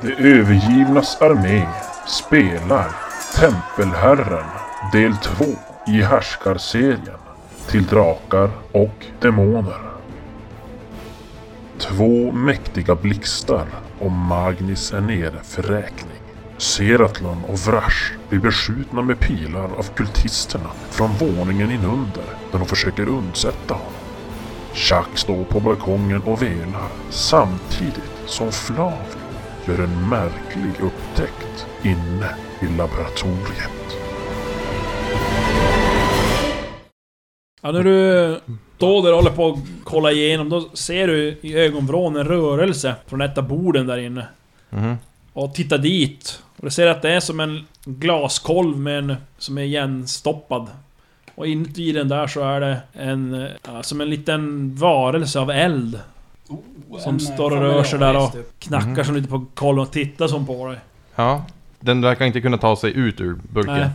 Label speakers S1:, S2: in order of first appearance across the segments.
S1: Det övergivnas armé spelar Tempelherren del 2 i härskarserien till drakar och demoner. Två mäktiga blixtar och Magnus är nere för räkning. Seratlon och Vrash blir beskjutna med pilar av kultisterna från våningen inunder när de försöker undsätta honom. Chuck står på balkongen och velar samtidigt som Flavio gör en märklig upptäckt inne i laboratoriet.
S2: Ja, när du då där håller på att kolla igenom, då ser du i ögonvrån en rörelse från ett av borden där inne.
S3: Mhm.
S2: Och tittar dit. Och du ser att det är som en glaskolv med en, som är igenstoppad. Och inuti den där så är det en, eh, ja, som en liten varelse av eld. Som
S4: en,
S2: står och
S4: eh,
S2: rör sig där och
S4: familjs,
S2: knackar
S3: Mhm.
S2: som lite på kolven och tittar som på dig.
S3: Ja. Den verkar inte kunna ta sig ut ur
S2: Nej.
S3: burken.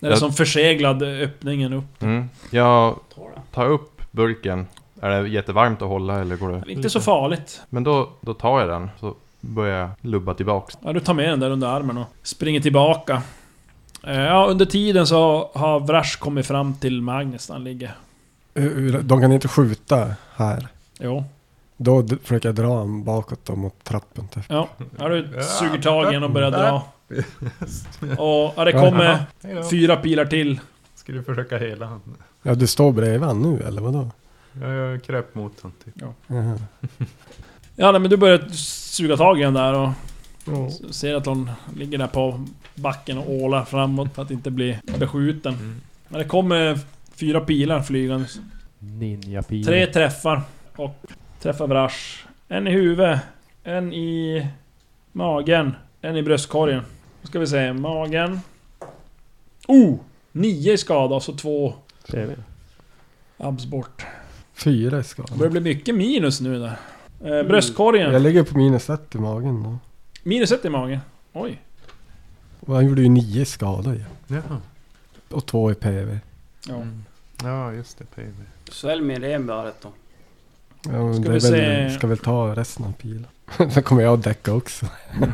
S2: Det är
S3: Jag-
S2: som förseglad öppningen upp.
S3: Mm. Jag
S4: Ta det.
S3: tar upp burken. Är det jättevarmt att hålla eller går det...
S2: Inte så farligt.
S3: Men då, då tar jag den. Så börjar jag lubba tillbaks.
S2: Ja, du tar med den där under armen och springer tillbaka. Eh, Ja, under tiden så har Vrash kommit fram till Magnus där han ligger.
S5: Eh, De kan inte skjuta här.
S2: Jo.
S5: Då d- försöker jag dra honom bakåt då mot trappen. Typ.
S2: Ja, ja du suger tag i den och börjar dra. Och ja, det kommer
S6: Hej då.
S2: fyra pilar till.
S6: Ska du försöka hela han?
S5: Ja, du står bredvid han nu eller vadå?
S6: Jag kröp mot honom typ.
S5: Jaha.
S2: Ja, nej, men du börjar suga tag i den där och ser att hon ligger där på backen och ålar framåt för att inte bli beskjuten. Men det kommer fyra pilar flygande.
S7: ninja pil.
S2: Tre träffar och träffar Vrash. En i huvudet, en i magen, en i bröstkorgen. Nu ska vi se, magen. Oh! Nio i skada och så två
S7: Ser vi.
S2: abs bort.
S5: Fyra i
S2: Det börjar
S5: skalan.
S2: bli mycket minus nu där. Eh, bröstkorgen.
S5: Jag ligger på minus ett i magen då.
S2: Minus ett i magen. Oj.
S5: Och han gjorde ju nio skador ju.
S6: Jaha.
S5: Och två i PV.
S2: Ja.
S6: Ja, just det. PV.
S4: Svälj med det möret då.
S5: Ja, men
S2: Ska
S5: det är
S2: vi
S5: väl,
S2: se-
S5: ska väl ta resten av pilen. Sen kommer jag att däcka också.
S4: Men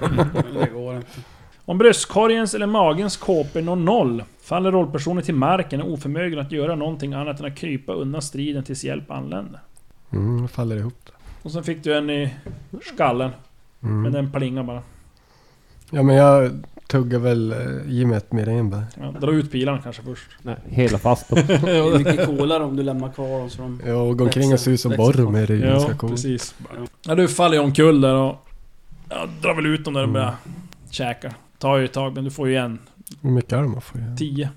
S4: Det går inte.
S2: Om bröstkorgens eller magens KP når noll faller rollpersonen till marken och är oförmögen att göra någonting annat än att krypa undan striden tills hjälp anländer.
S5: Mm, då faller det ihop.
S2: Och sen fick du en i skallen. Men
S5: Mm.
S2: den plingar bara.
S5: Ja men jag tuggar väl eh, i mig ett merenbär.
S2: Ja, dra ut pilarna kanske först.
S7: Nej, hela fast dem.
S4: Det är mycket coolare om du lämnar kvar dem så de...
S5: Ja, och gå omkring och se ut som
S4: Växel-
S5: Boromir är ju ganska coolt.
S2: precis. Ja, du faller ju omkull där och... Ja, drar väl ut dem där de
S5: Mm.
S2: börjar käka. Tar ju ett tag, men du får ju en.
S5: Hur mycket är det man får göra?
S2: Tio.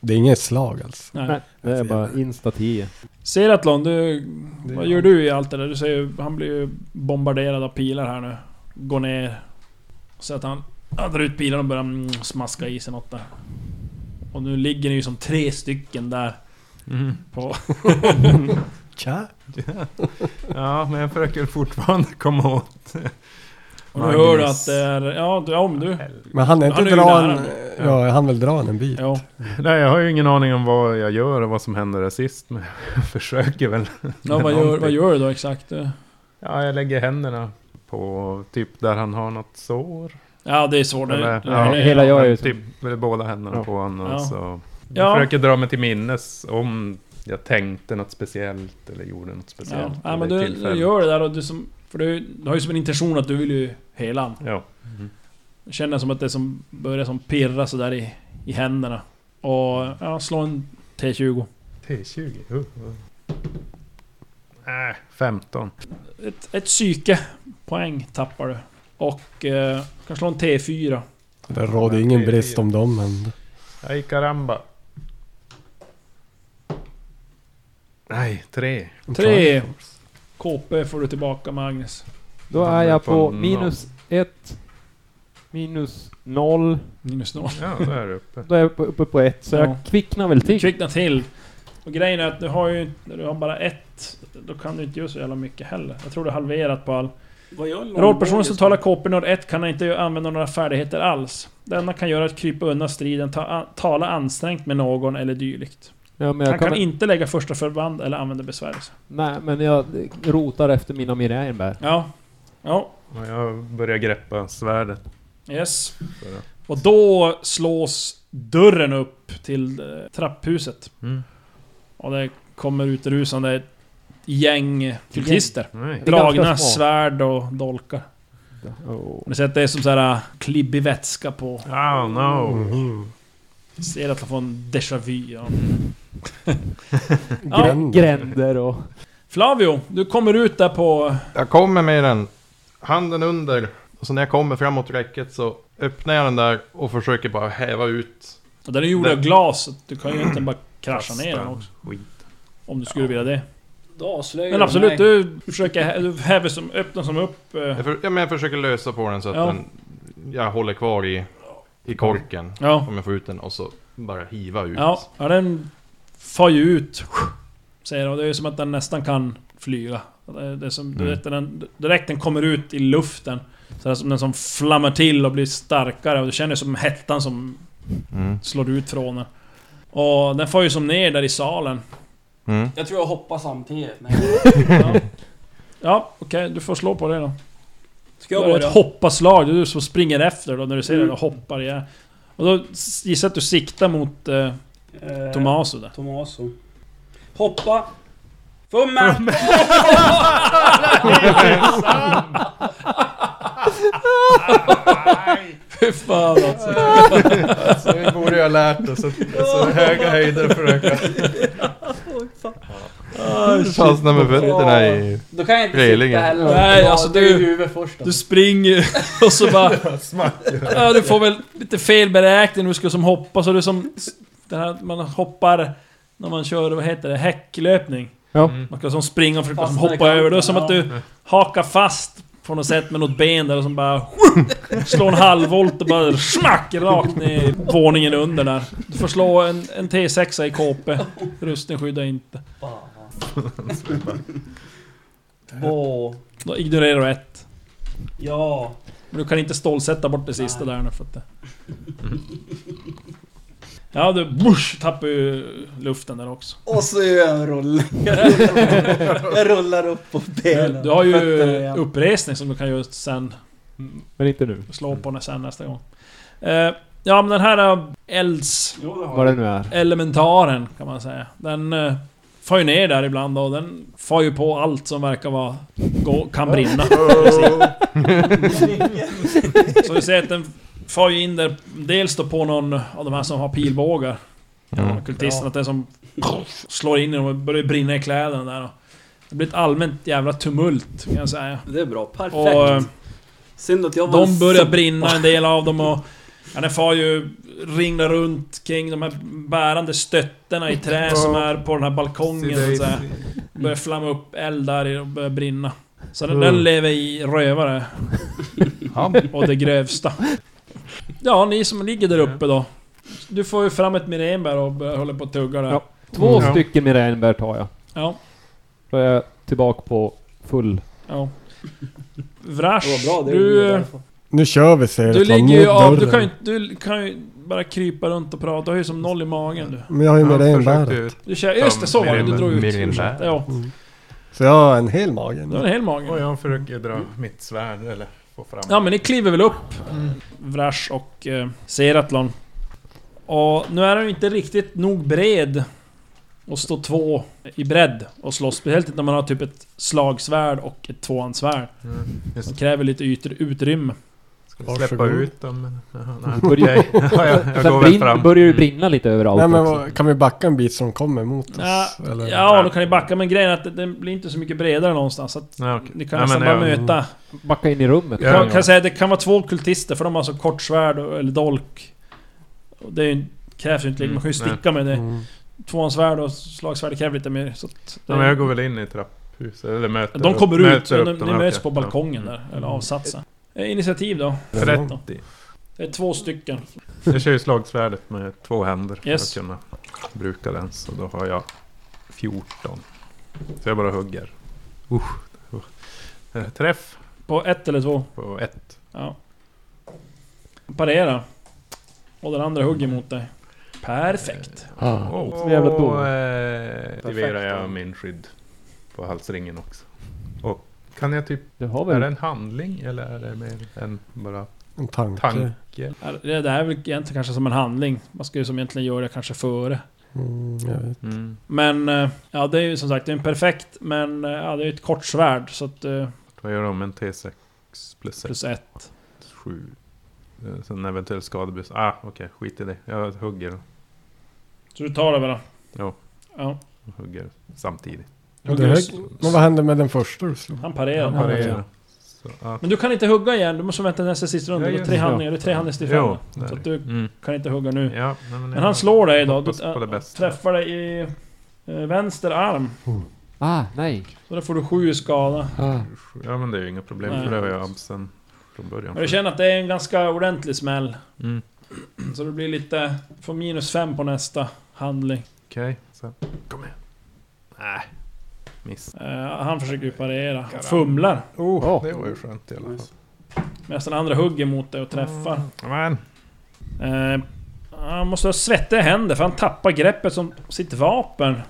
S5: Det är inget slag alltså. alls.
S2: Nej.
S7: Nej, det är bara insta 10.
S2: Seratlon, du...
S5: Det
S2: Vad
S5: är han.
S2: gör du i allt det där? Du säger ju- han blir ju bombarderad av pilar här nu. Går ner. Så att han... Han drar ut pilarna och börjar mm, smaska i sig något där. Och nu ligger ni ju som tre stycken där.
S6: Mm.
S2: På...
S5: Tja!
S6: Ja, men jag försöker fortfarande komma åt.
S2: Och nu hör du
S6: Magnus.
S2: att det är... Ja, du... Ja, men du...
S5: Men han är inte
S2: Han är ju
S5: dra
S2: nära
S5: en... Ja, han vill dra en en bit.
S2: Ja.
S6: Nej, jag har ju ingen aning om vad jag gör och vad som hände där sist. Men jag försöker väl.
S2: Ja, vad gör,
S6: Någonting.
S2: vad gör du då exakt?
S6: Ja, jag lägger händerna på typ där han har något sår.
S2: Ja, det är svårt.
S6: Eller-
S2: Det-
S6: ja.
S2: det-
S7: Hela jag är ju...
S6: Typ med båda händerna
S7: Ja.
S6: på honom.
S2: Ja.
S6: och Så. Jag
S2: Ja.
S6: försöker dra mig till minnes om jag tänkte något speciellt eller gjorde något
S2: Ja.
S6: speciellt.
S2: ja, men
S6: vid
S2: du,
S6: tillfälle.
S2: du gör det där och du som... För du, du har ju som en intention att du vill ju hela han.
S6: Ja.
S2: Jag Känner som att det som börjar som pirra sådär i, i händerna. Och ja, slå en T20.
S6: T20. Uh, uh. Nej, 15.
S2: Ett, ett psyke. Poäng tappar du. Och eh, kan slå en T4.
S5: Det råder ingen brist om dem men...
S6: Ay karamba. Nej, tre.
S2: Tre. KP får du tillbaka Magnus.
S7: Då är jag på minus 1, minus 0.
S2: Minus noll.
S6: Ja, då är du uppe.
S7: Då är jag uppe- uppe på 1, så
S2: Ja.
S7: jag kvicknar väl till.
S2: Kvickna till. Och grejen är att du har ju... Du har bara ett. Då kan du inte göra så jävla mycket heller. Jag tror du har halverat på all...
S4: Vad gör en långbåge
S2: Rollpersonen som
S4: just
S2: talar
S4: nu?
S2: KP-nord 1 kan inte ju använda några färdigheter alls. Det enda kan göra är att krypa undan striden, ta, an, tala ansträngt med någon eller dylikt.
S7: Ja, men
S2: Han
S7: jag
S2: kan
S7: kan
S2: inte lägga första förband eller använda besvärjelse.
S7: Nej, men jag rotar efter mina mirenbär.
S2: Ja. Ja.
S6: Ja, jag börjar greppa svärdet.
S2: Yes.
S6: För att-
S2: Och då slås dörren upp till eh, trapphuset.
S6: Mm.
S2: Och det kommer utrusande ett gäng kultister.
S6: Nej.
S7: Det är ganska
S2: Dragna
S7: små.
S2: svärd och dolkar.
S7: Oh.
S2: Ni ser att det är som så här eh, klibbig vätska på.
S6: Oh no.
S5: Mhm.
S2: Ser att han får en déjà vu. Ja. Ja,
S4: Mm.
S5: Gränd.
S7: Gränder och...
S2: Flavio, du kommer ut där på...
S3: Jag kommer med den, handen under. Och så när jag kommer framåt räcket så öppnar jag den där och försöker bara häva ut.
S2: och Den är gjord av
S3: Nej.
S2: glas, så du kan ju inte bara krascha ner den
S6: Kastan.
S2: också.
S6: Skit.
S2: Om du skulle vilja det.
S4: Då avslöjar
S2: Men
S4: du
S2: absolut,
S4: mig.
S2: du försöker... hä- Du häver som... Öppnar som upp... eh,
S3: Jag, för, ja, men jag försöker lösa på den så att
S2: Ja.
S3: den, jag håller kvar i, i korken.
S2: Ja.
S3: Om jag får ut den och så bara hiva ut.
S2: Ja, ja den far ju ut. Säger det, och det är ju som att den nästan kan flyga. Det det är som, du
S3: Mm.
S2: vet, när den, direkt den kommer ut i luften så är det som den som flammar till och blir starkare och du känner som hettan som
S3: Mm.
S2: slår ut från den. Och den far ju som ner där i salen.
S3: Mm.
S4: Jag tror jag hoppar samtidigt. Nej.
S2: Ja, okej, du får slå på det då.
S4: Ska
S2: Det
S4: jag
S2: är
S4: börja?
S2: ett hoppaslag, det är du som springer efter då när du ser
S4: Mm.
S2: den och hoppar igen. Och då gissar jag att du siktar mot eh,
S4: Eh,
S2: Tomaso där.
S4: Tomaso. Hoppa! Fummen!
S2: Fy fan alltså.
S3: Så vi borde ju ha lärt oss att så höga höjder försöka
S2: Ah, shit.
S3: fastna med fötterna i...
S4: Då kan jag inte
S3: Relingen.
S4: sitta heller.
S2: Nej,
S4: Ja,
S2: alltså
S4: det är
S2: du-
S4: huvudet först då.
S2: Du springer och så bara... ja, du får väl lite fel beräkning du ska som hoppa så du som... Det här, man hoppar när man kör, vad heter det, häcklöpning.
S7: Ja.
S2: Man ska som springa och försöka som
S4: Fastna i
S2: hoppa över. Det är
S4: kanten,
S2: som
S4: ja.
S2: att du hakar fast på något sätt med något ben där och som bara... slår en halvvolt och bara smack rakt ner i våningen under där. Du får slå en, en T6 i KP. Rustning skyddar inte.
S4: Fan. Åh,
S2: Då ignorerar du ett.
S4: ja.
S2: Men du kan inte stålsätta bort det sista där nu för att det... Ja du bush, tappar ju luften där också.
S4: Och så gör jag en rull. jag rullar upp på benen.
S2: Du har ju
S4: Fötterna igen.
S2: uppresning som du kan göra sen,
S7: Men inte nu.
S2: slå på när sen nästa gång. Eh, Ja men den här eh, elds...
S4: Jo, det har
S7: Vad det nu är.
S2: elementaren kan man säga. Den eh, far ju ner där ibland och den far ju på allt som verkar vara... Gå, kan brinna.
S4: Oh.
S2: Så vi ser att den far ju in där, dels då på någon av de här som har pilbågar. Ja, kultisten, att den som slår in i dem och börjar brinna i kläderna där. och Det blir ett allmänt jävla tumult kan jag säga.
S4: jag. Det är bra. Perfekt.
S2: Och eh,
S4: Synd att jag var
S2: de börjar brinna en del av dem och... Ja, den far ju ringla runt kring de här bärande stötterna i trä som är på den här balkongen så att säga. Börjar flamma upp eld där i och börjar brinna. Så den, den lever i rövare. Och det grövsta. Ja, ni som ligger där uppe då. Du får ju fram ett Mirenberg och börjar hålla på och tugga där.
S7: Ja. Två
S6: Ja.
S7: stycken Mirenberg tar jag.
S2: Ja,
S7: Då är jag tillbaka på full.
S2: ja. Vrash,
S4: Det var bra det.
S2: du...
S4: Du...
S5: Nu kör vi säger
S2: Du
S5: jag, fan,
S2: ligger ju
S5: mot
S2: av, du
S5: dörren.
S2: kan ju, du kan ju bara krypa runt och prata, du har ju som noll i magen du.
S5: Men jag har ju med dig en
S6: försökte
S5: bär.
S6: ut.
S2: du kör, just det, så var det, du drog ut.
S3: Mirinbär.
S2: ursäkta, Ja,
S5: Så jag har en hel mage
S2: du har
S5: nu.
S2: en hel
S6: Och
S2: mage.
S6: jag försöker dra mitt svärd eller få fram.
S2: Ja men ni kliver väl upp, Vrash och eh, Seratlon. Och nu är han ju inte riktigt nog bred och stå två i bredd och slåss. Speciellt inte när man har typ ett slagsvärd och ett tvåhandsvärd.
S6: Mm, just
S2: Det
S6: det.
S2: kräver lite yttre utrymme.
S6: Ska vi släppa
S5: Varsågod.
S6: ut dem? men- Jaha, nej.
S7: Börjar-
S6: Okej. Ja, jag, jag
S7: Sen
S6: går väl
S7: brin-
S6: fram. Mm.
S7: börjar ju brinna lite överallt
S5: Nej men
S7: också.
S5: vad- kan vi backa en bit så de kommer mot oss?
S2: Ja,
S5: Eller?
S2: Ja, då kan ni backa, men grejen är att den blir inte så mycket bredare någonstans. Så att
S6: Nej, okej.
S2: ni kan
S6: Nej,
S2: nästan
S6: men
S2: bara
S6: jag-
S2: möta...
S7: Backa in i rummet.
S6: Ja.
S2: Jag kan säga att det kan vara två kultister för de har så kort svärd och- eller dolk. Och det är ju, krävs ju inte lika, man kan ju
S6: Mm, nej.
S2: sticka med det.
S5: Mm.
S2: Tvåhandsvärd och slagsvärd kräver lite mer. Så att det,
S6: Ja, men jag går väl in i trapphuset eller möter
S2: de kommer
S6: möter
S2: ut, så de,
S6: upp dem,
S2: ni
S6: ja, Mm.
S2: möts på
S6: okej.
S2: balkongen där, eller avsatsen. Eh, Initiativ då?
S6: Ja. 30.
S2: Det är två stycken.
S6: Jag kör ju slagsvärdet med två händer för
S2: Yes.
S6: att kunna bruka den. Så då har jag 14. Så jag bara hugger. Usch. usch. Eh, Träff
S2: På ett eller två?
S6: på ett.
S2: Ja. Parera. Och den andra hugger mot dig. Perfekt.
S7: Ah.
S6: Oh.
S7: Så jävla dum.
S6: eh, aktiverar
S4: Perfekt.
S6: jag min skydd på halsringen också. Och Kan jag typ...
S7: Du har
S6: Är
S7: väl?
S6: det en handling eller är det mer än bara
S5: En tanke.
S6: tanke?
S2: Ja, Det där är väl egentligen kanske som en handling. Man ska ju som egentligen göra det kanske före.
S5: Mm, jag vet.
S6: Mm.
S2: Men eh, ja, det är ju som sagt det är en perfekt, men eh, ja, det är ju ett kort svärd. Så att eh,
S6: Vad gör de? En T6 plus 6?
S2: plus ett.
S6: 7. Sen eventuell skadebus. Ah, okej. Skit i det. Jag hugger.
S2: Så du tar det väl då?
S6: Ja.
S2: Ja.
S6: Jag hugger samtidigt.
S5: Ja, det är- Men vad hände med den första du slog?
S2: Han parerar.
S7: Han
S6: Jag parerar. Så, ah.
S2: Men du kan inte hugga igen, du måste vänta nästa sista runda.
S6: Ja,
S2: Du har
S6: just
S2: tre
S7: det.
S2: handlingar, du har tre handlingsdifferens.
S6: Jo, där.
S2: Så att du
S6: Mm.
S2: kan inte hugga nu.
S6: Ja, nej, men,
S2: Men han slår dig då. Du äh,
S6: Hoppas på det bästa.
S2: träffar dig i eh, vänster arm.
S7: Ah, nej.
S2: Så där får du sju i skada.
S7: Ah.
S6: Ja, men det är ju inga problem
S2: Nej.
S6: för det har jag haft sen från början.
S2: Men du känner att det är en ganska ordentlig smäll.
S6: Mm.
S2: Så det blir lite... Får minus fem på nästa handling.
S6: Okej, så. Kom igen. Nej. Miss.
S2: Eh, han försöker ju parera. Han
S6: Karam.
S2: fumlar.
S6: Oh,
S7: Ja.
S6: det var ju skönt i alla fall.
S2: Medan den andra hugger mot dig och träffar.
S6: Men,
S2: Eh, han måste ha svettiga händer för han tappar greppet som sitt vapen.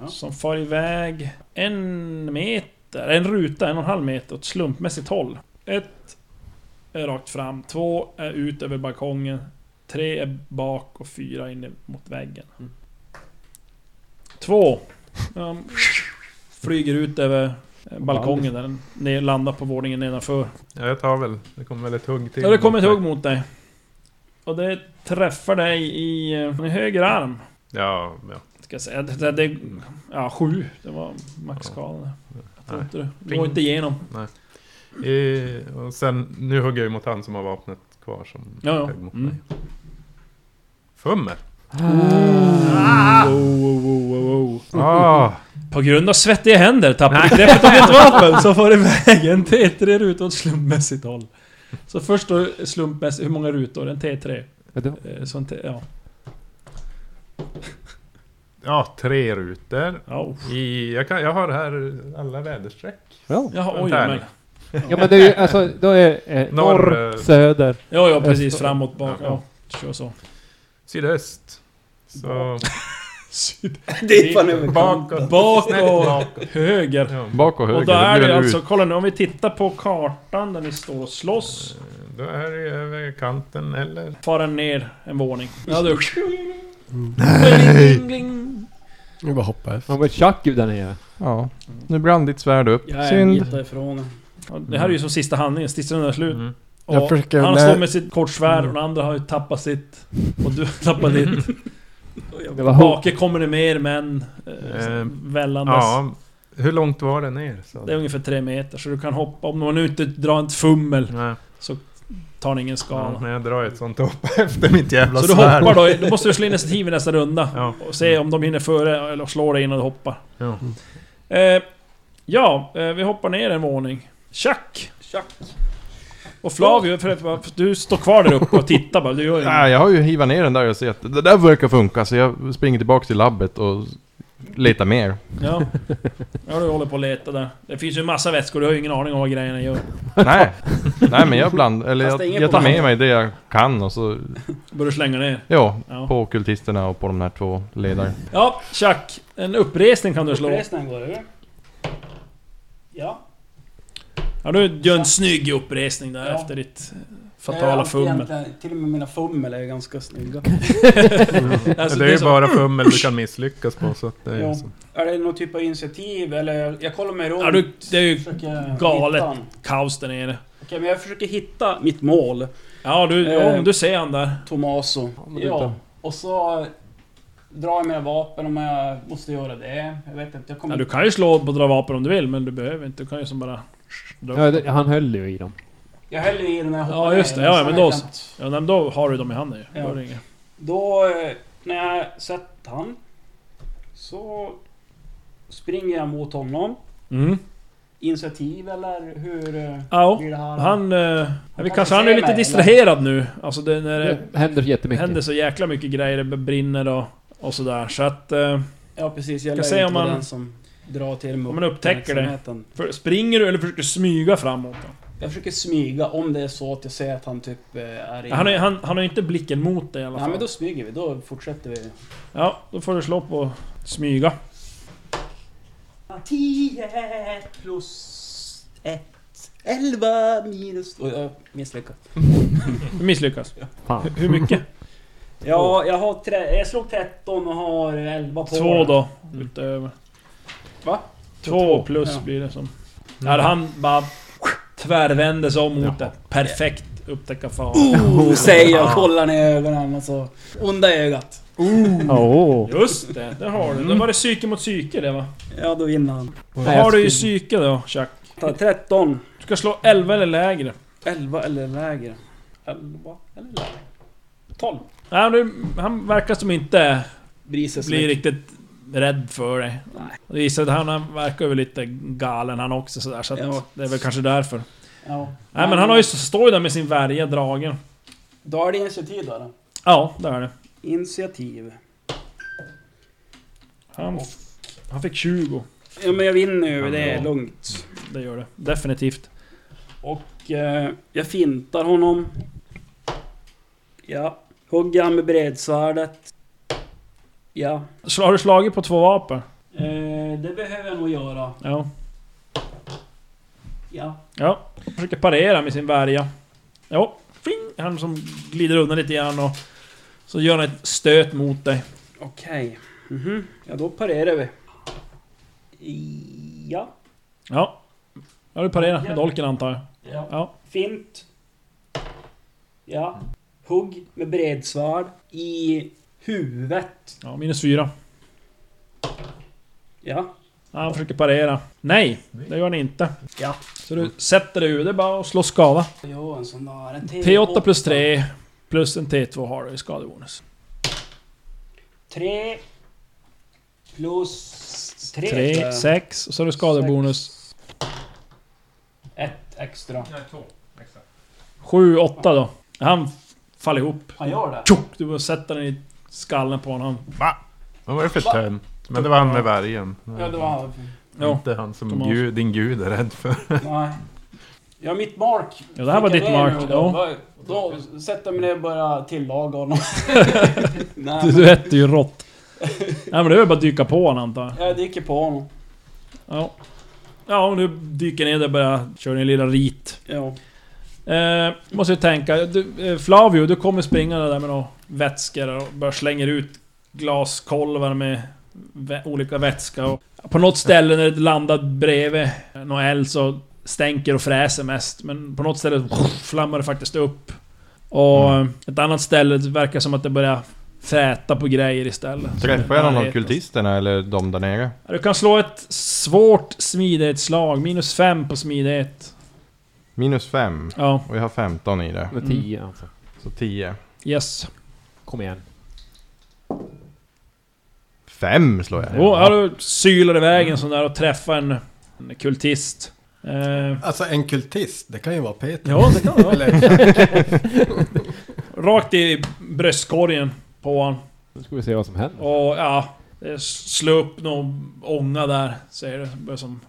S4: Ja.
S2: Som far iväg en meter, en ruta, en och en halv meter åt slumpmässigt håll. Ett är rakt fram, två är ut över balkongen, tre är bak och fyra in mot väggen.
S4: Mm.
S2: Två. Um, flyger ut över eh, balkongen där den ner- landar på våningen nedanför.
S6: ja, jag tar väl. Det kommer väl ett hugg till.
S2: Ja, det kommer ett
S6: mot
S2: hugg
S6: mig.
S2: mot dig. Och det träffar dig i, eh, i höger arm.
S6: Ja, ja.
S2: Ska jag säga. Det, det, det, ja, sju. Det var maxskadan. där. Jag tror
S6: Nej.
S2: inte det. Det
S6: Pling.
S2: går inte igenom.
S6: Eh, och sen, nu hugger jag ju mot han som har vapnet kvar som
S2: Ja, ja.
S6: högg mot
S2: Mm.
S6: mig. Fummer!
S2: Wow, wow, wow, wow, wow.
S6: Ah,
S2: På grund av svettiga händer tappar du greppet om ditt vapen så får du iväg en T3 ruta åt slumpmässigt håll. Så först då slumpmässigt, hur många rutor? En T3?
S7: Ja, det-
S2: Eh, Så en T, ja.
S6: ja, tre rutor.
S2: ja.
S6: I, jag, kan, jag har här alla väderstreck.
S7: Ja.
S2: Jaha, oj
S6: Där.
S2: men.
S7: ja, men det är ju alltså, då är eh,
S6: Norr,
S7: norr,
S6: eh,
S7: söder.
S2: Ja, ja precis.
S7: Öster-
S2: Framåt, bak. Ja,
S6: Ja.
S2: kör så.
S6: Sydöst. Så
S4: Det är fan överkant.
S6: bakåt.
S2: Bak
S6: Snett
S2: och
S6: bakåt.
S2: höger.
S6: Ja,
S3: Bak och höger.
S2: Och då är
S3: blir
S2: det
S3: en
S2: alltså,
S3: ut.
S2: kolla nu om vi tittar på kartan där ni står och slåss.
S6: Då är det över kanten eller...
S2: Far den ner en våning. Ja du. Bling, bling.
S5: Jag bara hoppar efter.
S7: Man var tjack där nere.
S3: Ja. Nu brann ditt svärd upp.
S4: Jag är en
S3: Synd.
S4: bit ifrån.
S2: Ja, Det här är ju som sista handlingen, sista rundan är slut.
S6: Mm.
S2: Och
S5: Jag försöker-
S2: han
S5: nej.
S2: slår med sitt kortsvärd och den andra har ju tappat sitt. Och du har tappat ditt.
S7: Det var hugg.
S2: Bake kommer det mer män. Eh,
S6: Eh,
S2: vällandes.
S6: Ja, hur långt var det ner? Så?
S2: Det är ungefär tre meter, så du kan hoppa. Om man nu inte drar ett fummel
S6: Nej,
S2: tar ni ingen
S6: ja,
S2: skada.
S6: när jag drar ett sånt hopp efter mitt jävla
S2: Så du
S6: svärd.
S2: hoppar då, då måste du slå initiativ i nästa runda.
S6: Ja.
S2: Och se om de hinner före eller slår dig innan du hoppar.
S6: Ja.
S2: Eh, ja, eh, vi hoppar ner en våning. Tjack!
S4: Tjack.
S2: Och Flavio, för, för, för, du står kvar där uppe och tittar bara. Du gör inget.
S3: Nej, jag har ju hivat ner den där och sett att det där verkar funka så jag springer tillbaka till labbet och letar mer.
S2: Ja. ja, du håller på att leta där. Det finns ju en massa vätskor, du har ju ingen aning om vad grejerna gör.
S3: Nej, nej men jag bland, eller
S4: Fast det är
S3: jag,
S4: ingen
S3: jag tar
S4: band.
S3: med mig det jag kan och så,
S2: Börjar slänga ner.
S3: ja,
S2: Ja.
S3: på kultisterna och på de här två ledarna.
S2: Ja, tjack! En uppresning kan du slå.
S4: Resten går över. Ja.
S2: Ja, du gör en snygg uppresning där
S4: Ja.
S2: efter ditt
S4: Jag har
S2: fatala
S4: alltid
S2: fummel.
S4: egentligen- Till och med mina fummel är ganska snygga.
S2: Alltså,
S6: Mm. det är ju
S2: så-
S6: bara fummel du kan misslyckas på så att det är
S4: Ja.
S6: så.
S4: Är det någon typ av initiativ eller? Jag, jag kollar mig runt.
S2: Ja, du, det är ju
S4: försöker
S2: galet.
S4: hitta den.
S2: kaos där nere.
S4: Okej, men jag försöker hitta mitt mål.
S2: Ja, du,
S4: Eh.
S2: om du ser han där.
S4: Tomaso.
S7: men
S4: Ja.
S7: vänta.
S4: Och så drar jag mina vapen om jag måste göra det. Jag vet inte, jag
S2: Ja,
S4: kommer...
S2: du kan ju slå på dra vapen om du vill, men du behöver inte. Du kan ju som bara...
S7: Ja, det, han höll ju i dem.
S4: Jag häller i den när jag
S2: Ja,
S4: hoppar
S2: just det.
S4: ner,
S2: Ja,
S4: sen
S2: ja, men
S4: vet
S2: då
S4: jag
S2: så.
S4: inte.
S2: Ja, men då har du dem i handen ju.
S4: Ja.
S2: Då är det inget.
S4: Då, eh, när jag sett han Så springer jag mot honom.
S2: Mm.
S4: Initiativ eller hur eh,
S2: Ja,
S4: blir det här?
S2: han... eh, Ja, vi
S4: kan
S2: kanske
S4: se
S2: han är lite
S4: mig,
S2: distraherad nu. Alltså det, när det
S7: Det händer jättemycket.
S2: händer så jäkla mycket grejer, det brinner och, och sådär. Så att... eh,
S4: Ja precis,
S2: Ska
S4: jag
S2: se
S4: lär
S2: om
S4: inte vara
S2: man-
S4: den som drar till mig
S2: om man upptäcker det.
S4: uppmärksamheten.
S2: För, springer du eller försöker smyga framåt? Då?
S4: Jag försöker smyga om det är så att jag ser att han typ eh, är inne.
S2: Han, är, han, han har ju inte blicken mot dig i alla
S4: Ja
S2: fall.
S4: men då smyger vi, då fortsätter vi.
S2: Ja, då får du slå på smyga.
S4: 10 plus ett, elva minus... Och jag misslyckas.
S2: Du misslyckas.
S7: Fan.
S2: Hur mycket?
S4: Ja, jag har tre, jag slog 13 och har 11 på
S2: Två
S4: den.
S2: då, Mm. utöver.
S4: Va?
S2: Två Mm. plus
S4: Ja.
S2: blir det som. När han bara tvärvände sig om mot
S6: Jaha.
S2: det. Perfekt upptäckarfara.
S4: Oh, säger jag, kollar ner i ögonen och så... Onda i ögat.
S7: Åh.
S2: Just det, det har du. Då var det psyke mot psyke det va?
S4: Ja, då vinner han.
S2: Mm. Vad har du i psyke då, Chuck?
S4: Ta 13.
S2: Du ska slå 11 eller lägre.
S4: 11 eller lägre. 11 eller lägre. 12.
S2: Nej, du, han verkar som inte
S4: Brises
S2: blir riktigt rädd för dig.
S4: Nej.
S2: Det visar att han, han verkar ju lite galen han också sådär, så att
S4: Ja.
S2: det är väl kanske därför.
S4: Ja.
S2: Nej men han har ju, står ju där med sin värja dragen.
S4: Då är det initiativ då. då.
S2: Ja, det är det.
S4: Initiativ.
S2: Han, han fick 20.
S4: Ja men jag vinner ju, det är lugnt.
S2: Det gör det. Definitivt.
S4: Och eh, jag fintar honom. Ja. Hugger han med bredsvärdet. Ja.
S2: Sl- Har du slagit på två vapen?
S4: Eh, det behöver jag nog göra.
S2: Ja.
S4: Ja.
S2: Ja. Han Försöker parera med sin värja. Jo. Fing! Han som glider undan lite grann och... Så gör han ett stöt mot dig.
S4: Okej. Mhm. Ja då parerar vi. Ja.
S2: Ja. Ja, du parerar med dolken antar jag.
S4: ja.
S2: Ja.
S4: Fint. Ja. Hugg med bredsvärd i huvudet.
S2: Ja, minus fyra.
S4: Ja.
S2: Ja, han försöker parera. Nej! Det gör han inte.
S4: Ja.
S2: Så du sätter dig ur det bara och slår skada.
S4: Jo, en sån där. En
S2: T8 plus 3 plus en T2 har du i skadebonus.
S4: 3 plus 3.
S2: 3, 6 och så har du skadebonus.
S4: 1 extra.
S2: 7, 8 då. Han f- faller ihop.
S4: Han gör det?
S2: Tjock! Du bara sätter den i skallen på honom.
S6: Vad var det för tönt? Men det var han med värjen.
S4: Ja, det var...
S2: Ja.
S6: Inte han som
S2: Thomas.
S6: gud, din gud är rädd för.
S4: Nej. Ja, mitt mark.
S2: Ja, det här var
S4: Fick
S2: ditt
S4: jag ner
S2: mark,
S4: nu Då, då, då sätter jag mig ner och börjar tillaga honom.
S2: Du,
S4: Nej, men
S2: du äter ju rått. Nej men det är väl bara att dyka på honom antar jag.
S4: jag dyker på honom.
S2: Ja. Ja, om du dyker ner där och börjar köra din lilla rit.
S4: Ja.
S2: Eh, måste ju tänka. Du, eh, Flavio, du kommer springa där med några vätskor och bara slänger ut glaskolvar med vä- olika vätska. Och på något ställe när det landar bredvid någon eld så stänker och fräser mest. Men på något ställe flammar det faktiskt upp. Och
S3: Mm.
S2: ett annat ställe det verkar som att det börjar fräta på grejer istället.
S3: Träffar jag någon av
S2: Närheten.
S3: kultisterna eller de där nere?
S2: Du kan slå ett svårt smidighetsslag. Minus 5 på smidighet.
S3: Minus fem.
S2: Ja, Mm.
S3: Och jag har 15 i det.
S7: Med 10 alltså.
S3: Så 10.
S2: yes.
S7: Kom igen.
S3: Fem slår jag.
S2: Jo, ja, du sylar iväg en sån där och träffar en, en kultist. Eh,
S5: Alltså en kultist, det kan ju vara Peter.
S2: ja, det kan det vara.
S5: Eller,
S2: Rakt i bröstkorgen på honom.
S7: Nu ska vi se vad som händer.
S2: Och ja, det slår upp någon ånga där, säger det. Börjar som,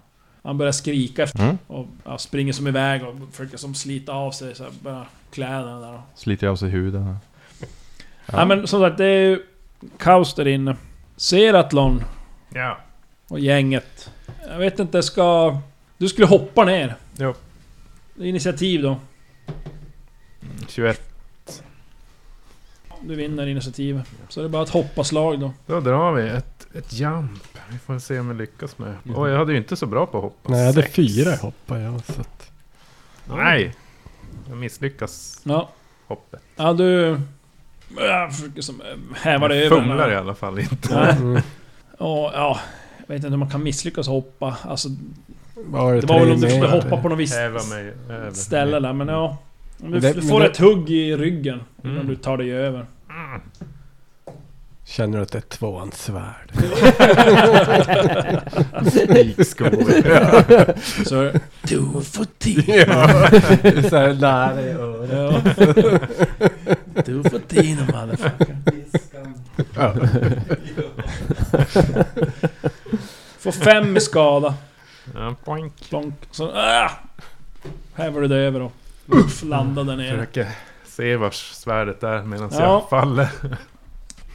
S2: han börjar skrika
S3: Mm.
S2: och ja, springer som iväg och försöker som slita av sig så här, bara kläderna där.
S3: Sliter jag av sig huden. här.
S2: Ja. Nej men som sagt, det är ju kaos där inne. Seratlon
S6: Ja.
S2: och gänget. Jag vet inte, ska... Du skulle hoppa ner.
S6: Jo.
S2: Initiativ då.
S6: 21.
S2: Du vinner initiativ. Så det är bara ett hoppaslag då.
S6: Då drar vi ett, ett jump. Vi får se om vi lyckas med. Åh,
S2: Mm.
S6: jag hade ju inte så bra på att hoppa.
S5: nej, jag hade
S6: Sex.
S5: fyra hoppar jag. Så att,
S6: Nej! Jag misslyckas
S2: Ja,
S6: hoppet.
S2: ja du... Jag försöker som eh, häva det över. den
S6: Fumlar
S2: här.
S6: i alla fall inte.
S2: Nej.
S5: mm,
S2: Och, ja, jag vet inte hur man kan misslyckas och hoppa. Alltså,
S5: var det
S2: det var
S5: tre
S2: väl om du skulle
S5: meter?
S2: hoppa på något visst
S6: Häva mig över.
S2: ställe där, men ja. Om Du,
S5: Det-
S2: du
S5: men
S2: får
S5: det-
S2: ett hugg i ryggen
S6: Mm.
S2: om du tar dig över.
S5: Känner du att det är tvåans svärd?
S2: Så... Du får tio.
S5: Så här nära i örat.
S2: Ja. Du får tio motherfucker. Får fem i skada.
S6: Ja, poäng.
S2: Plonk. Så... Äh! Häver du dig över och... Uff, landade ner.
S6: Försöker se vars svärdet är medan
S2: Ja.
S6: jag faller.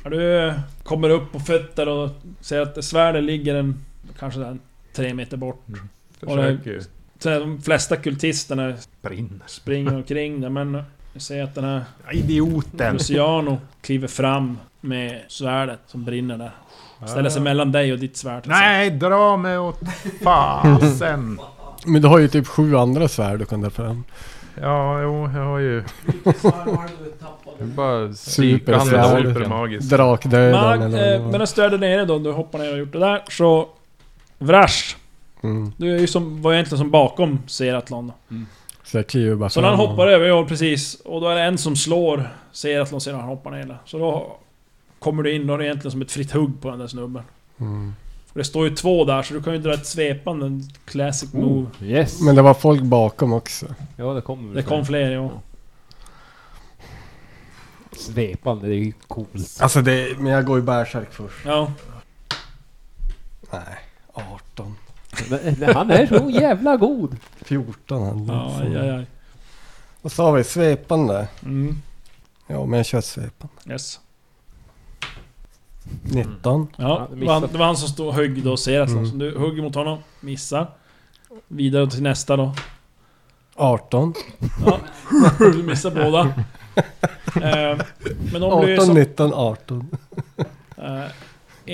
S2: Ja, Du kommer upp på fötter och ser att svärdet ligger en... Kanske där, tre meter bort. Och det-
S6: Försöker ju.
S2: Så här, de flesta kultisterna
S6: Brinner.
S2: springer omkring där, men jag ser att den här
S6: Idioten!
S2: Luciano kliver fram med svärdet som brinner där. Ställer sig mellan dig och ditt svärd.
S6: Ah. Nej, dra mig åt fasen!
S5: Men du har ju typ sju andra svärd du kan dra fram.
S6: Ja, jo, jag har ju...
S3: Bara
S5: Supersvärd.
S3: psykande.
S6: Supermagiskt.
S5: Drakdöden
S2: Mag,
S5: eller
S2: eh,
S5: vad
S2: medan du är där
S5: det var.
S2: nere då, du hoppar ner och gjort det där, så... Vrash!
S5: Mm.
S2: Du är ju som, var egentligen som bakom Seratlon. då.
S5: Så jag kliver bara
S2: Så när han
S5: fram och-
S2: hoppar över, ja precis. Och då är det en som slår Seratlon sedan han hoppar ner där. Så då kommer du in, då är det egentligen som ett fritt hugg på den där snubben.
S5: Mm.
S2: För det står ju två där, så du kan ju dra ett svepande en classic move.
S7: Yes!
S5: Men det var folk bakom också.
S7: Ja, det kom väl
S2: Det Oh. kom
S7: så.
S2: fler, ja.
S7: Svepande, det är ju coolt.
S5: Alltså det, men jag går ju bärsärk först.
S2: Ja,
S5: Nej, 18.
S7: Men, men han är så jävla god!
S5: 14 hade
S2: ja,
S5: jag.
S2: aj, aj, aj.
S5: Vad sa vi? Svepande?
S2: Mm.
S5: Ja, men jag kör svepande.
S2: Yes.
S5: 19.
S2: Ja,
S7: Ja,
S2: det, var han,
S7: missat.
S2: det var han som stod och högg då Seratlon.
S5: Mm.
S2: Så du hugger mot honom, missar. Vidare till nästa då.
S5: 18.
S2: Du missar båda. Eh, Men de blir ju
S5: 18,
S2: som...
S5: 19, 18.
S2: eh,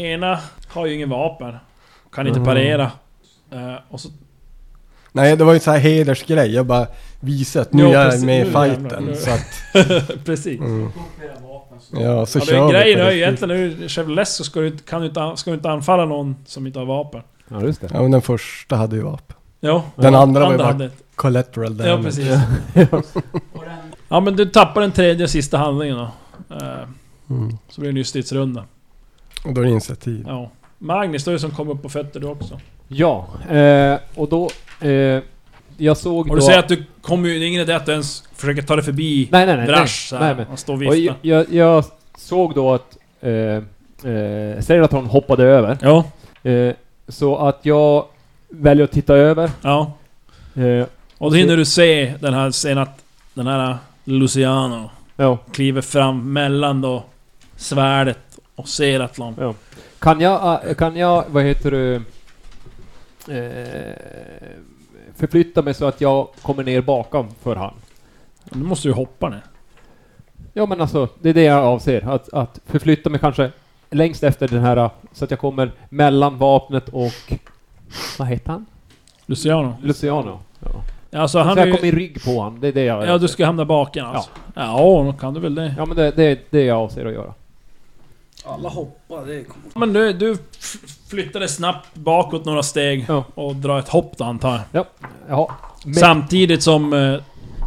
S2: Ena har ju ingen vapen. Kan inte
S5: Mm.
S2: parera. Eh, Och så...
S5: Nej, det var ju en sån här hedersgrej. Jag bara visade att nu
S2: Ja,
S5: är jag
S2: precis.
S5: med
S2: Nu
S5: i
S2: jävlar.
S5: fighten.
S2: Nu.
S5: Så att,
S2: Precis.
S5: mm. Ja, så
S2: Ja, det,
S5: kör vi
S2: grejen
S5: på
S2: är ju
S5: riktigt.
S2: egentligen nu, Chevrolet så ska du, inte- kan du, inte, ska du inte anfalla någon som inte har vapen.
S7: Ja, just det.
S5: Ja, men den första hade ju vapen.
S2: Ja,
S5: Den andra var ju bara
S2: hade ett.
S5: collateral damage.
S2: Ja, precis. Ja, men du tappar den tredje och sista handlingen då. Eh,
S5: Mm.
S2: Så blir det en stridsrunda.
S5: Och då är det initiativ.
S2: Ja. Magnus, då är det som kommer upp på fötter du också.
S7: Ja, eh, och då... Eh, jag såg
S2: Och
S7: då...
S2: du säger att du kommer ju... Det är ingen idé att du ens försöker ta dig förbi
S7: Nej, nej, nej. nej,
S2: Brash så här.
S7: nej, men,
S2: Han står och
S7: och
S2: viftar.
S7: jag, jag, jag såg då att... Eh, eh, säger att hon hoppade över.
S2: Ja,
S7: Eh, så att jag väljer att titta över.
S2: ja.
S7: Eh,
S2: Och då hinner du se den här scenen att den här Luciano
S7: ja.
S2: kliver fram mellan då svärdet och Seratlon.
S7: Ja. Kan jag, eh, kan jag, vad heter du, eh, förflytta mig så att jag kommer ner bakom för han?
S2: Nu måste du ju hoppa ner.
S7: Ja men alltså, det är det jag avser. Att, att förflytta mig kanske längst efter den här, eh, så att jag kommer mellan vapnet och, vad heter han?
S2: Luciano.
S7: Luciano. Ja.
S2: Alltså
S7: Så
S2: han är
S7: jag kommer
S2: ju...
S7: i rygg på han, det är det jag
S2: Ja, du ska hamna baken alltså. Ja, då kan du väl det.
S7: ja men det, det är det jag avser att göra.
S4: Alla hoppar, det kommer...
S2: Men du, du f- flyttar dig snabbt bakåt några steg
S7: Ja.
S2: och drar ett hopp då antar jag.
S7: Jaha. Men-
S2: Samtidigt som eh,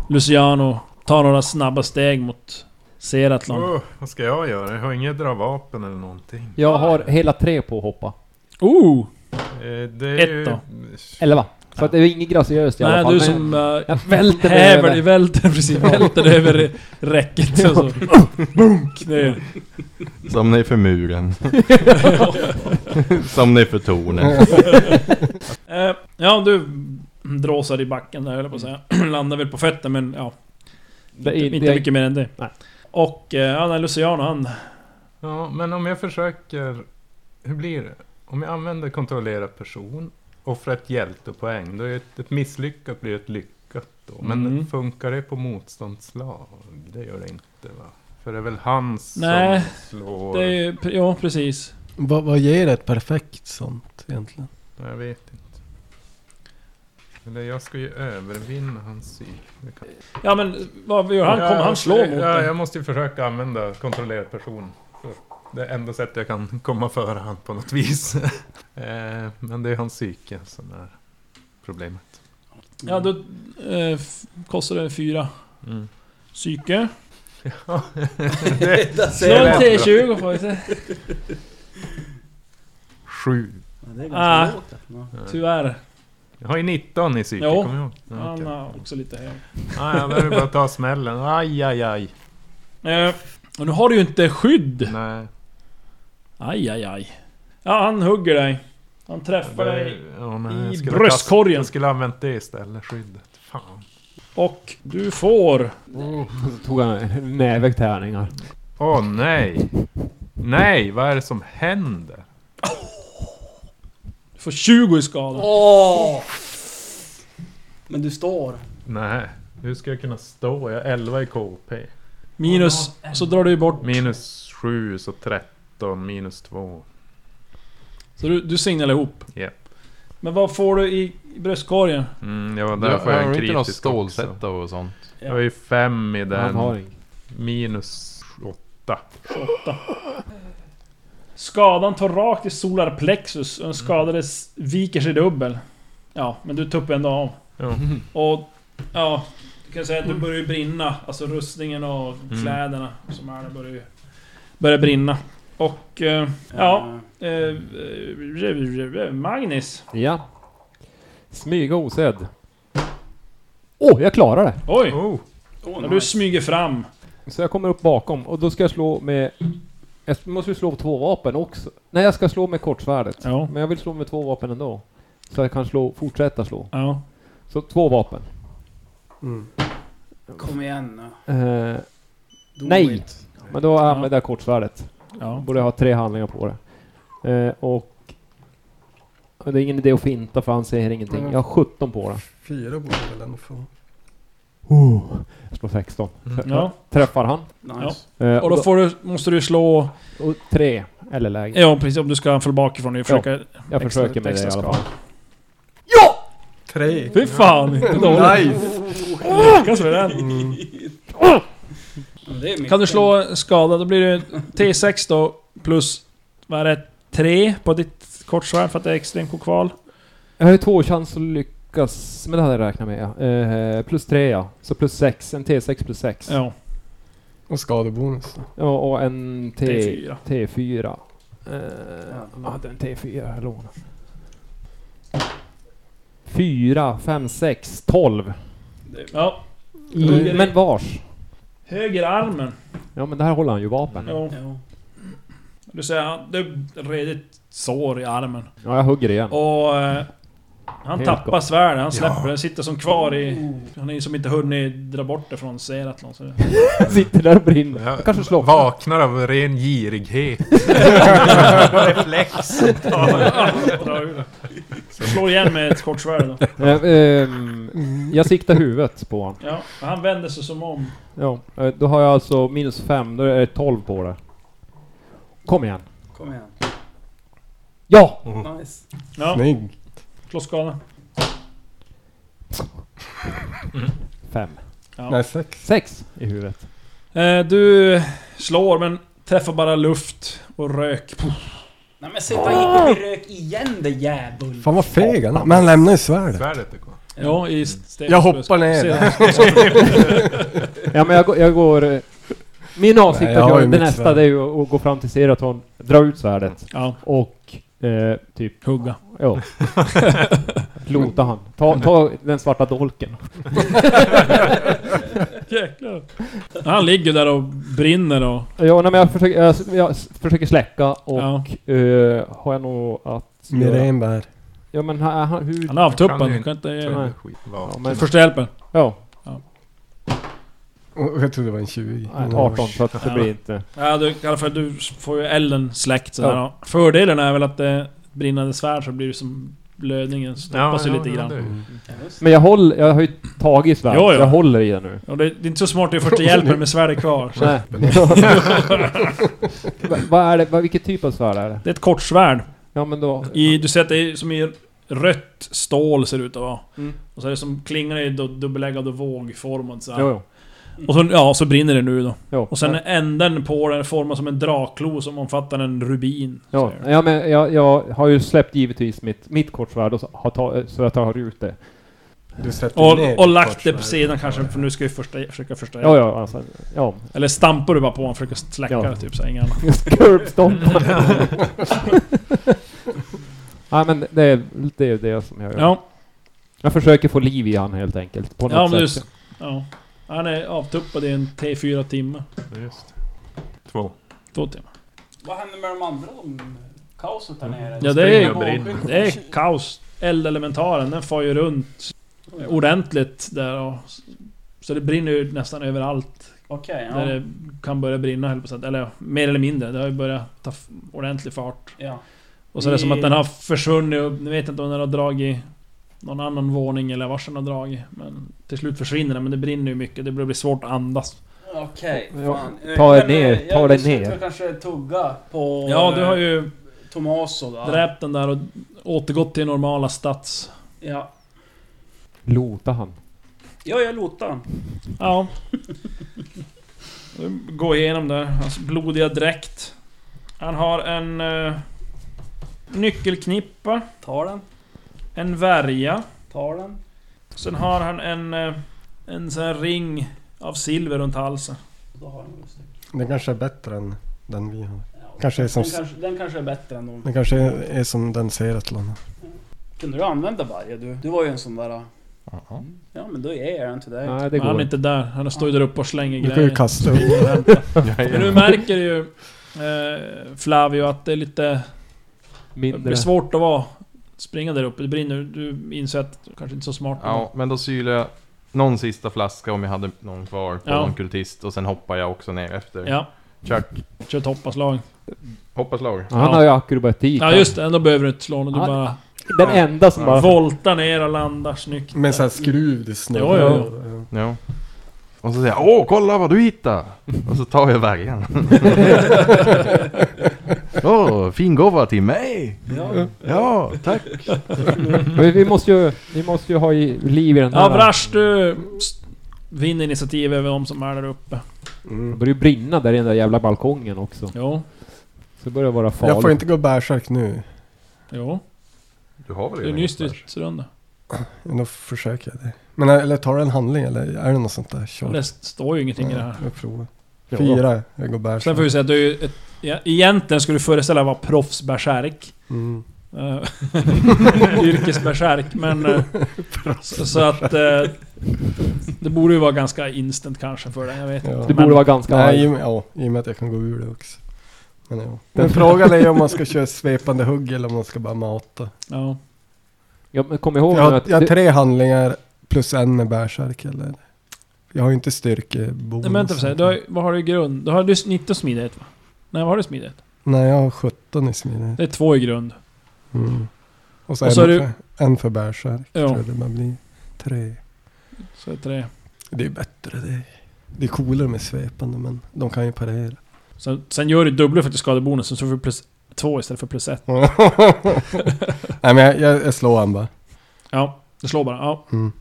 S2: Luciano tar några snabba steg mot Seratlon.
S6: Åh, vad ska jag göra? Jag har inget dra vapen eller någonting.
S7: Jag har hela tre på att hoppa.
S2: Oh!
S6: Eh, Det är
S2: Ett
S6: ju...
S2: då.
S7: Elva. Så att det är inget graciöst i alla
S2: Nej,
S7: fall.
S2: du
S7: men-
S2: som... eh,
S7: jag välter mig
S2: Häver
S7: över.
S2: dig, välter precis, välter dig över räcket och så... Bunk! ner.
S3: Som ni för muren. Som ni för tornet.
S2: Eh, Ja, du dråsar i backen där höll jag på att säga. Landar väl på fötter men ja,
S7: Det är
S2: inte,
S7: inte-
S2: inte mycket mer än det.
S7: Nej.
S2: Och eh, ja, nej, Luciano han...
S6: Ja, men om jag försöker... Hur blir det? Om jag använder kontrollera person, offra ett hjältepoäng, då är ett, ett misslyckat blir ett lyckat då. Men
S2: Mm.
S6: funkar det på motståndslag? Det gör det inte va? För det är väl han som
S2: Nej,
S6: slår...
S2: Det är ju... Ja, precis.
S5: Vad, vad ger ett perfekt sånt egentligen?
S6: Nej, Jag vet inte. Eller jag ska ju övervinna hans psyk. Det kan-
S2: Ja men vad gör han? Kommer han slå mot
S6: ja,
S2: dig?
S6: Jag måste ju försöka använda kontrollerad person. Det är enda sättet jag kan komma före han på något vis. Eh, Men det är hans psyke som är problemet.
S2: Ja, då eh, f- kostar det fyra psyke.
S4: Där
S2: Slå
S4: ser
S2: en
S4: man.
S2: T20 får vi se.
S6: Sju.
S4: Ja, Det är
S2: Ah.
S4: ganska alltså. lågt. Ja.
S2: Tyvärr.
S6: Jag har ju 19 i psyke,
S2: Jo.
S6: kommer du ihåg? Ja,
S2: Han
S6: okej.
S2: har också lite hög.
S6: Ah, ja, där är det bara att ta smällen. Aj, aj, aj.
S2: Eh, och nu har du ju inte skydd.
S6: Nej.
S2: Aj, aj, aj. Ja, han hugger dig. Han träffar dig.
S6: Det- ja, nej, jag
S2: i
S6: skulle ha
S2: bröstkorgen.
S6: kast- Jag skulle ha använt det istället, skyddet. Fan.
S2: Och du får...
S7: Så tog han en näve tärningar.
S6: Åh nej! Nej, vad är det som händer?
S2: Du får 20 i skada.
S4: Men du står.
S6: Nej. Hur ska jag kunna stå? Jag har 11 i KP.
S2: Minus, så drar du ju bort.
S6: Minus 7 så 13, minus 2.
S2: Så du, du singlar ihop.
S6: Japp.
S2: Men vad får du i, i bröstkorgen?
S6: Mm, ja,
S3: Du
S6: där får jag
S3: har inte
S6: en
S3: någon
S6: kritisk också.
S3: stålsätta och sånt?
S6: Jag har ju 5 i
S7: Han har
S6: den.
S7: ingen.
S6: Minus 8.
S2: 28. Skadan tar rakt i solar plexus
S6: Mm.
S2: och den skadade s- viker sig dubbel. Ja, men du tuppar ändå av.
S6: Ja.
S2: Och ja, du kan säga att du börjar ju brinna. Alltså rustningen och
S6: Mm.
S2: kläderna som är där börjar ju börjar brinna. Och eh, ja, eh, eh, Magnus.
S7: Ja. Smyga osedd. Åh, jag klarar det!
S2: Oj!
S6: Oh,
S4: Åh,
S2: När
S4: nice.
S2: du smyger fram.
S7: Så jag kommer upp bakom och då ska jag slå med... Jag måste ju slå med två vapen också. Nej, jag ska slå med kortsvärdet.
S2: Ja.
S7: Men jag vill slå med två vapen ändå. Så jag kan slå, fortsätta slå.
S2: Ja.
S7: Så två vapen.
S4: Kom igen nu.
S7: Eh,
S4: Do
S7: Nej.
S4: it.
S7: men då använder jag kortsvärdet.
S2: ja.
S7: Borde jag ha tre handlingar på det. Eh, och... och Det är ingen idé att finta för han ser ingenting. Jag har 17 på det.
S5: Fyra borde jag väl ändå få.
S7: Jag slår 16.
S2: ja.
S7: Träffar han.
S4: Nice.
S7: Eh,
S2: Och då får du, måste du slå...
S7: och tre eller lägre.
S2: Ja precis, om du ska få bakifrån. Du försöker
S7: Jag
S2: Extra-
S7: försöker med det i
S2: extra
S7: alla fall.
S5: Tre.
S2: Fy fan, inte dåligt.
S5: Nice!
S2: Lyckas med den.
S4: Men det är mycket.
S2: Kan du slå skada, då blir det T6 då, plus... Vad är det? 3 på ditt kortsvärd för att det är extrem kokval.
S7: Jag har ju två chans att lyckas, men det hade jag räknat med ja. Eh, plus tre ja. Så plus sex, en T6 plus sex. Ja.
S2: Ja,
S5: Och skadebonus.
S7: Och, och en T,
S2: T4.
S7: T4. Eh,
S4: Ja.
S7: Jag hade en T4, jag lånade. Fyra, fem, sex, tolv.
S2: Ja.
S7: I, men vars?
S2: Höger armen.
S7: Ja men där håller han ju
S5: Mm.
S7: vapen. Ja,
S2: Ja.
S4: Ja.
S2: Du ser, han- det är ett redigt sår i armen.
S7: jag hugger igen.
S2: Och... eh, Han
S7: Helt
S2: tappar
S7: gott.
S2: svärdet, han släpper det. sitter som kvar i... Han är som inte hunnit dra bort det från Seratlon. Så det,
S7: Sitter där och brinner.
S6: jag
S7: Jag kanske slår.
S6: vaknar av ren girighet. Reflex.
S2: dra ur det. Så slår igen med ett kortsvärd då.
S7: Eh, ehm, jag siktar huvudet på honom.
S2: Ja, han vänder sig som om.
S7: Ja, eh, då har jag alltså minus 5, då är det 12 på det. Kom igen.
S4: Kom igen.
S7: Ja!
S4: Nice.
S2: Ja,
S5: Snygg.
S2: slå skada.
S7: 5.
S2: Ja.
S5: Nej, sex.
S7: 6 i huvudet.
S2: Eh, du slår men träffar bara luft och rök. Puff.
S4: Nej men sätt inte
S2: Ah!
S4: i rök igen det jävul.
S5: Fan vad feg han är. Men han lämnar ju svärdet.
S6: Svärdet är kvar.
S2: Ja, i steg.
S5: Jag hoppar ner.
S7: Ja men jag, går- jag går... eh, Min avsikt
S5: Nej,
S7: Nej,
S5: jag
S7: att
S5: har
S7: göra
S5: ju
S7: det
S5: mitt
S7: nästa
S5: svärd.
S7: det är ju att gå fram till Seraton, dra ut svärdet
S2: Ja,
S7: och eh, typ,
S2: hugga.
S7: ja. Lota han. Ta, ta den svarta dolken.
S2: Jäklar. Han ligger där och brinner och...
S7: Ja, nej, men jag, försöker, jag, jag s- försöker släcka och
S2: Ja.
S7: eh, har jag nog att... göra-
S5: Mirenberg.
S7: Ja men han, han, hur...
S2: Han är avtuppad.
S6: Kan ju
S2: Du kan inte...
S6: Så
S2: ge-
S6: det
S7: Nej.
S6: är skit.
S7: Ja,
S6: Vaken.
S7: men,
S2: Första hjälpen.
S7: ja,
S5: Och Jag trodde det var en 20.
S7: nej, 18 så att det
S2: Ja.
S7: blir inte...
S2: Ja, du, i alla fall, du får ju elden släckt sådär. Ja. Fördelen är väl att det är brinnande svärd så blir det som... Blödningen stoppas ju lite
S6: ja,
S2: grann.
S6: det är ju-
S7: Men jag håller, jag har ju tagit svärd,
S2: Jo,
S7: så
S2: jo.
S7: jag håller i den nu.
S2: Och det, det är inte så smart att göra första hjälpen med svärdet kvar. Så.
S7: Nej. Va- Vad är det, vad, vilket typ av svärd är det?
S2: Det är ett kortsvärd.
S7: Ja men då...
S2: I, du ser att det är som i rött stål ser det ut att vara.
S7: Mm.
S2: Och så är det som klingan är då dubbeläggad och vågformad så här.
S7: Jo, jo.
S2: Och så, ja, så brinner det nu då.
S7: jo.
S2: Och sen
S7: ja,
S2: änden på den är formad som en draklo som omfattar en rubin.
S7: ja.
S2: ser du.
S7: ja men jag, jag har ju släppt givetvis mitt, mitt kortsvärd och så, har ta, så jag tar ut det.
S5: Du sätter ner
S2: Och, och lagt
S5: ditt
S2: det på
S5: svärd.
S2: sidan kanske, för nu ska vi första, försöka första
S7: Ja ja, alltså, ja.
S2: Eller stampar du bara på honom och försöker släcka
S7: Ja.
S2: det typ såhär, inga annat.
S7: Curbstompar. Nej men det är det, är det som jag gör.
S2: Ja,
S7: Jag försöker få liv i han helt enkelt. På något
S2: ja men du...
S7: sätt.
S2: Ja. Han är avtuppad i en T4 timme.
S6: Just. Två.
S2: Två timmar.
S4: Vad händer med de andra? De... Kaoset där nere?
S2: Ja det
S6: springer
S2: är,
S6: och brinner.
S2: det är kaos. Eldelementaren, den far ju runt ordentligt där och... Så det brinner ju nästan överallt.
S4: Okej,
S2: Där det kan börja brinna höll på att säga. Eller ja, mer eller mindre. Det har ju börjat ta f- ordentlig fart.
S4: ja. ja.
S2: Och så är det som att den har försvunnit och ni vet inte om den har dragit någon annan våning eller vars den har dragit. Men till slut försvinner den, men det brinner ju mycket. Det blir svårt att andas.
S4: Okej,
S7: Ja,
S4: fan.
S7: ta er
S4: Jag-
S7: ner,
S4: jag-
S7: ta
S4: jag
S7: dig
S4: beslutar
S7: ner.
S4: kanske tugga på... eh,
S2: Ja, du har ju
S4: Tomaso då.
S2: dräpt den där och återgått till normala stats.
S4: Ja.
S7: Lota han.
S4: ja, jag lotar han.
S2: Ja. Gå igenom där. Hans blodiga dräkt. Han har en... eh, nyckelknippa.
S4: Tar den,
S2: En värja.
S4: tar den.
S2: Sen har han en... eh, en sån här ring av silver runt halsen.
S4: Då har han just det.
S5: Den kanske är bättre än den vi har.
S4: Ja,
S5: Kanske är som-
S4: den, kanske, den kanske är bättre än de...
S5: Den kanske är, är som den Seratlon.
S4: Kunde du använda varje du? Du var ju en sån där... äh, Ja, men då ger jag den till dig.
S7: Nej, det
S2: Men han
S7: går
S2: är
S7: inte.
S2: inte där. Han står ju där uppe och slänger
S5: Du kan ju
S2: grejer.
S5: kasta upp.
S2: Men du märker ju... Eh, Flavio att det är lite... Det blir
S7: Mindre.
S2: svårt att vara... Springa där uppe. Det brinner. Du inser att du kanske inte är så smart.
S3: Ja, men då sylar jag någon sista flaska om jag hade någon kvar på
S2: Ja.
S3: någon kultist och sen hoppar jag också ner efter.
S2: Ja,
S3: Kört.
S2: kör ett hoppaslag.
S3: Hoppa slag.
S7: Han har ju akrobatik.
S2: Ja just det, ändå behöver du inte slå när du
S7: Ja,
S2: bara
S7: Den enda som bara...
S2: voltar ner och landar snyggt.
S5: Med sån här skruv det
S2: Ja,
S5: snurrar.
S2: ja,
S3: Ja. Och så säger jag Åh, kolla vad du hittar! Och så tar jag värjan. Åh, fin gåva till mig!
S4: Ja.
S3: Ja, tack!
S7: Men vi måste ju... Vi måste ju ha i- liv i den
S2: Ja
S7: där.
S2: Vrash, du st- vinner initiativ över de som är där uppe.
S7: Det
S5: Mm.
S7: börjar ju brinna där i den där jävla balkongen också.
S2: Jo,
S7: Så det börjar vara farligt.
S5: Jag får inte gå bärsärk nu.
S2: jo.
S3: Du har väl
S2: Det är en ny stridsrunda.
S5: Då försöker jag det. Men eller tar det en handling eller är det något sånt där
S2: Men
S5: tjat?
S2: Det står ju ingenting i det här.
S5: Jag provar.
S7: Ja.
S5: Fyra, jag går
S2: Sen får vi
S5: bärsärk.
S2: säga att du är ju ett, ja, Egentligen skulle du föreställa vara proffsbärsärk.
S5: Mm.
S2: Eh, Yrkesbärsärk, men... eh, Så, så att... eh, Det borde ju vara ganska instant kanske för dig, jag vet
S5: Ja.
S2: inte.
S7: Det
S2: Men-
S7: borde vara ganska...
S5: Nej, i,
S7: arg.
S5: och med- ja, i och med att jag kan gå ur det också. Men, ja. Men frågan är om man ska köra svepande hugg eller om man ska bara mata.
S2: Ja.
S7: Ja, men kom ihåg
S5: Jag
S7: nu
S5: har,
S7: att...
S5: jag har
S7: det-
S5: tre handlingar plus en med bärsärk eller? Jag har ju inte styrkebonus.
S2: Nej, Men vänta för sig, du har, vad har du i grund? Du har du 19 smidighet va? Nej, vad har du i smidighet?
S5: Nej, jag har 17 i smidighet.
S2: Det är två i grund.
S5: Mm. Och så,
S2: Och
S5: en,
S2: så är
S5: för, en för bärsärk
S2: Ja.
S5: tror jag det bara blir. Tre.
S2: Så är det tre.
S5: Det är bättre det. Det är coolare med svepande men de kan ju parera.
S2: Sen, sen gör du dubbla för att du skadebonusen, så får du plus två istället för plus ett.
S5: Nej men jag, jag, jag slår han bara.
S2: Ja, det slår bara. Ja.
S5: Mm.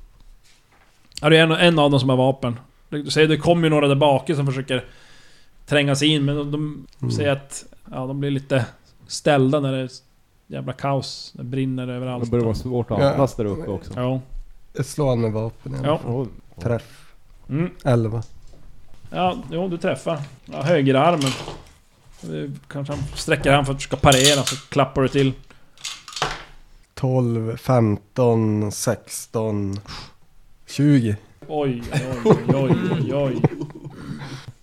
S2: ja det är en, en av dem som har vapen. Du, du säger, det kommer ju några där bak som försöker tränga sig in, men de, de
S5: Mm.
S2: säger att... Ja, de blir lite ställda när det är jävla kaos. Det brinner överallt.
S7: Det börjar vara svårt att
S5: Ja.
S7: andas där uppe också.
S2: Ja.
S5: Jag slår han med vapen.
S2: Ja.
S7: Ja.
S5: Träff.
S2: Mm.
S5: 11.
S2: Ja, jo, du träffar. Ja, högerarmen. Det Kanske han sträcker han för att försöka parera, så klappar du till.
S5: 12, 15, 16, 20.
S2: Oj, oj, oj, oj, oj.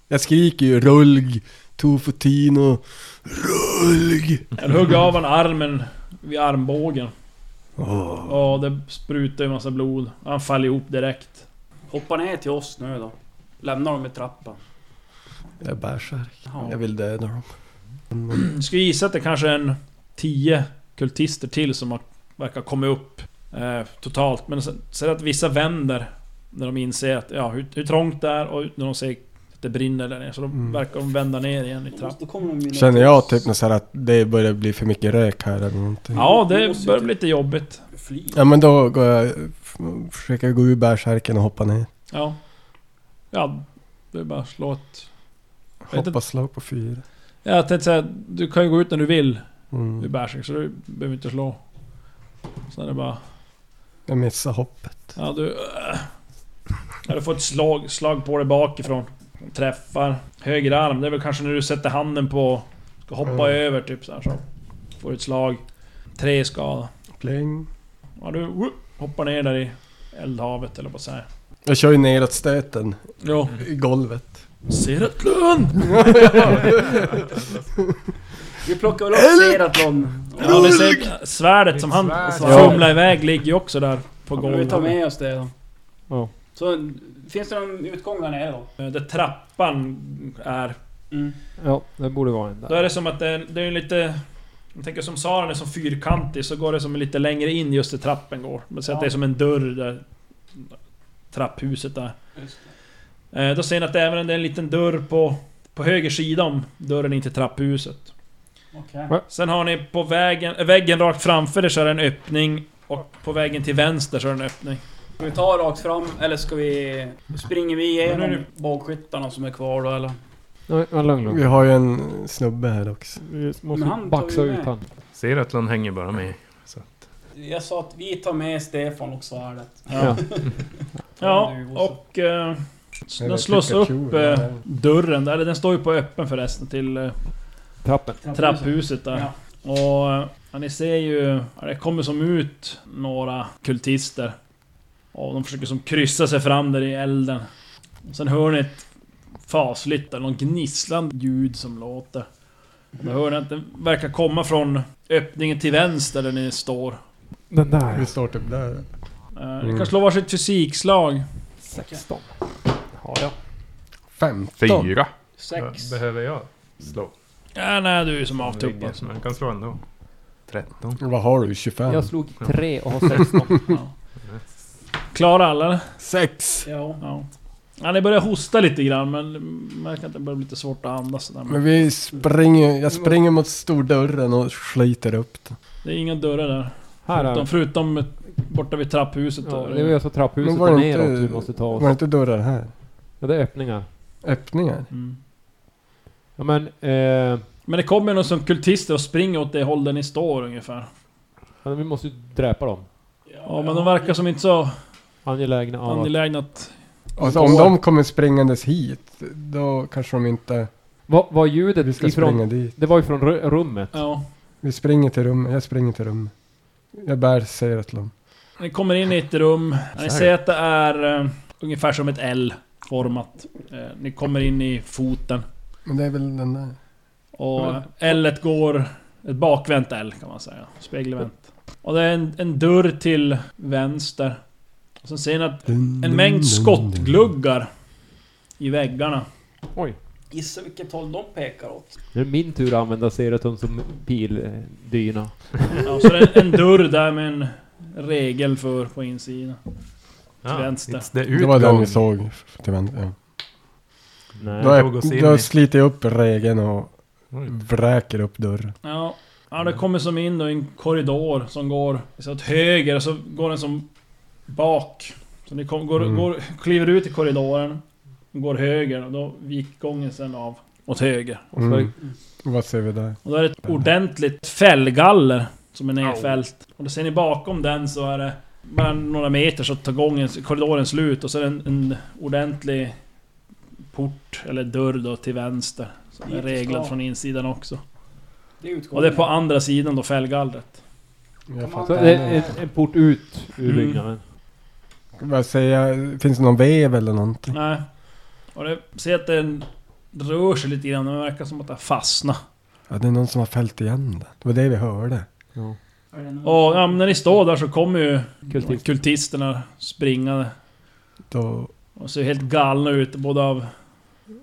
S5: Jag skriker ju rulg, tofutino, rulg.
S2: Jag hugger av han armen vid armbågen.
S5: Åh.
S2: Ja, det sprutar ju massa blod. Han faller ihop direkt.
S4: Hoppa ner till oss nu då. Lämna dem i trappan.
S5: Jag är bärsärk.
S4: Ja.
S5: Jag vill döda dem.
S2: Jag skulle gissa att det kanske är en 10 kultister till som har, verkar komma upp eh, totalt. Men sen- sen att vissa vänder när de inser att, ja, hur, hur trångt det är och när de ser att det brinner där nere. Så då
S5: Mm.
S2: verkar de vända ner igen i trappan.
S4: Då kommer de ju ner
S5: Känner
S4: till
S5: jag
S4: oss.
S5: typ något så här att det börjar bli för mycket rök här eller någonting?
S2: Ja, det börjar bli lite jobbigt.
S4: Fly.
S5: Ja men då går jag, f- försöker gå ur bärsärken och hoppa ner.
S2: Ja. Ja, det är bara att slå ett... vet inte.
S5: Hoppa slag på fyra.
S2: Ja, Jag tänkte säga, du kan ju gå ut när du vill. Du
S5: Mm.
S2: bär sig, så du behöver inte slå. Sen är det bara...
S5: Jag missar hoppet.
S2: Ja du... äh. Ja, du får ett slag, slag på dig bakifrån. Träffar. Höger arm, det är väl kanske när du sätter handen på... Ska hoppa
S5: Mm.
S2: över typ så här så. Får ett slag. Tre skada.
S5: Pling.
S2: Ja du whoop, hoppar ner där i eldhavet eller vad säger
S5: Jag kör ju neråt stöten
S2: Jo.
S5: i golvet.
S2: Seratlön!
S4: Vi plockar väl upp Seratlon.
S2: Ja ni ser svärdet som han
S6: Mitt
S4: svärd.
S2: fumlar iväg ligger ju också där på
S4: Ja, men vi tar
S2: golvet.
S4: med oss det då.
S7: Ja.
S4: Så finns det någon utgång där nere då?
S2: Eh, Där trappan är
S4: Mm.
S7: ja, det borde vara en
S2: Då
S7: där.
S2: är det som att det är, det är en lite Jag tänker som salen är som fyrkantig så går det som lite längre in just där trappen går. Men så att det är som en dörr där... Trapphuset där.
S4: Just
S2: Eh, Då ser ni att det även är en liten dörr på, på höger sida om dörren in till trapphuset.
S4: det. Okej.
S7: Va?
S2: Sen har ni på vägen, äh, väggen rakt framför er så är det en öppning. Och på vägen till vänster så är det en öppning.
S4: Ska vi ta rakt fram eller ska vi... Springer vi
S2: Men
S4: igenom
S2: nu är
S4: bågskyttarna som är kvar då eller?
S7: Nej, men lugn, lugn.
S5: Vi har ju en snubbe här också.
S7: Vi
S4: Men han tar
S7: måste
S4: ju
S7: baxa
S4: med.
S7: ut han.
S6: Seratlan hänger bara med. Så att,
S4: Jag sa att vi tar med Stefan och svärdet.
S7: Ja.
S2: Ja, och... Eh, den slås
S5: tycker
S2: upp
S5: jag-
S2: eh, dörren där, eller den står ju på öppen förresten till eh,
S7: Trappen.
S2: trapphuset där.
S4: Ja.
S2: Och eh, ja, ni ser ju, ja, det kommer som ut några kultister. Och de försöker som kryssa sig fram där i elden. Och sen hör ni ett fasligt, eller någon gnisslande ljud som låter. Och då hör ni att det verkar komma från öppningen till vänster där ni står.
S7: Den där.
S5: Vi står typ där.
S2: Eh, Ni
S5: Mm.
S2: kan slå varsitt fysikslag.
S7: 16. Har jag.
S5: 15.
S3: fyra.
S4: Sex.
S6: behöver jag slå?
S2: Ja, nej, du är ju som avtubbad.
S6: Men jag kan slå ändå. 13.
S5: Vad har du? 25?
S7: Jag slog 3 och har 16.
S2: Ja. Klarar alla eller?
S5: Sex!
S4: Ja.
S2: Ja. ja. Ni börjar hosta lite grann men märker att det börjar bli lite svårt att andas. Där.
S5: Men vi springer, jag springer mot stordörren och sliter upp den.
S2: Det är inga dörrar där.
S7: Här är
S2: Förutom, förutom
S7: den.
S2: borta vid trapphuset.
S7: Ja,
S2: där.
S7: det är alltså trapphuset
S5: Men var
S7: och
S5: det inte-
S7: neråt vi måste ta
S5: Var det
S7: oss.
S5: inte dörrar här?
S7: Ja, det är öppningar.
S5: Öppningar?
S2: mm.
S7: Ja men... Eh,
S2: Men det kommer någon som kultister och springer åt det håll där ni står ungefär.
S7: ja, vi måste ju dräpa dem.
S2: Ja, men de verkar som inte så
S7: Angelägna av att...
S2: angelägna att...
S5: Alltså, om de kommer springandes hit, då kanske de inte...
S7: Vad var
S5: Vi
S7: ljudet
S5: ska
S7: ifrån?
S5: springa dit.
S7: Det var ju från ru- rummet.
S2: Ja.
S5: Vi springer till rummet, jag springer till rummet. Jag bär Seratlon.
S2: Ni kommer in i ett rum. Ja, Ni
S3: Så här.
S2: ser att det är eh, ungefär som ett L format. Eh, ni kommer in i foten.
S5: Men det är väl den där?
S2: Och L går... Ett bakvänt L kan man säga. Spegelvänt. Och det är en, en dörr till vänster. Och sen ser ni att en mängd skottgluggar i väggarna.
S7: Oj.
S4: Gissa vilket håll de pekar åt.
S7: Nu är det min tur att använda Seraton som pildyna.
S2: Ja, så det är en dörr där med en regel för på insidan.
S6: Ja,
S2: vänster.
S6: it's the
S5: Det var den
S6: utgång.
S5: vi såg till vänster. Ja.
S7: Nej.
S5: Då,
S6: tog oss in
S5: är,
S6: i-
S5: då sliter jag upp regeln och
S6: Oj.
S5: vräker upp dörren.
S2: Ja. Ja, det kommer som in då i en korridor som går så åt höger och så går den som bak. Så ni kom, går,
S5: Mm.
S2: går, kliver ut i korridoren, går höger och då gick gången sen av åt höger.
S7: Och så är
S5: Mm. Vad ser vi där?
S2: Och då är det ett ordentligt fällgaller som är nedfällt. Och då ser ni bakom den så är det bara några meter så tar gången, korridoren slut och så är det en, en ordentlig port eller dörr då till vänster. Som är
S4: Dit vi
S2: reglad
S4: ska.
S2: från insidan också.
S4: Det är utgången.
S2: Och det är på andra sidan då fällgallret.
S5: Jag
S7: Så
S5: fattar.
S7: det är en, en port ut ur
S2: Mm.
S7: byggnaden. eh,
S5: Vad säger jag? Finns det någon vev eller någonting?
S2: Nej. Och det ser att den rör sig lite grann, men det verkar som att den fastnar.
S5: Ja, det är någon som har fällt igen det. Det var det vi hörde.
S4: Är det någon-
S2: Och ja, men när ni står där så kommer ju
S7: Kultist.
S2: kultisterna springande.
S5: Då...
S2: Och ser helt galna ut, både av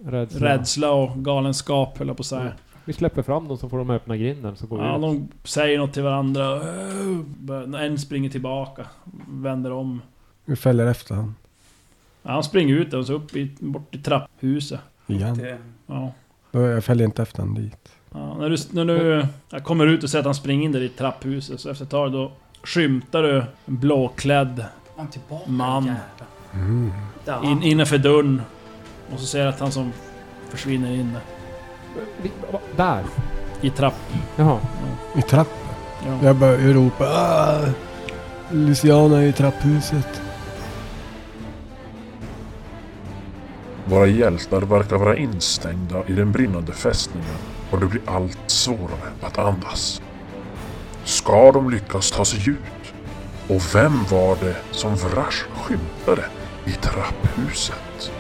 S7: Rädsla.
S2: rädsla och galenskap höll jag på att säga.
S7: Vi släpper fram dem så får de öppna grinden så går
S2: Ja,
S7: vi ut.
S2: de säger något till varandra. Bör- En springer tillbaka, vänder om.
S5: Vi fäller efter honom.
S2: Ja, han springer ut och så upp i, bort till trapphuset.
S5: Igen.
S4: Det-
S2: Ja.
S5: Då jag fäller inte efter honom dit.
S2: Ja, när du, när du jag kommer ut och ser att han springer in där i trapphuset, så efter ett tag då skymtar du en blåklädd
S4: Han tillbaka
S2: Man.
S4: jävlar.
S5: Mm.
S4: Där.
S2: in, innanför dörren. Och så ser du att han som försvinner in där
S7: Vi, va- där!
S2: i trapp...
S7: Jaha.
S5: I trappen.
S2: Ja.
S5: Jag börjar ropa. "Ah! Luciana är i trapphuset.
S1: Våra hjältar verkar vara instängda i den brinnande fästningen och det blir allt svårare att andas. Ska de lyckas ta sig ut? Och vem var det som Vrash skymtade i trapphuset?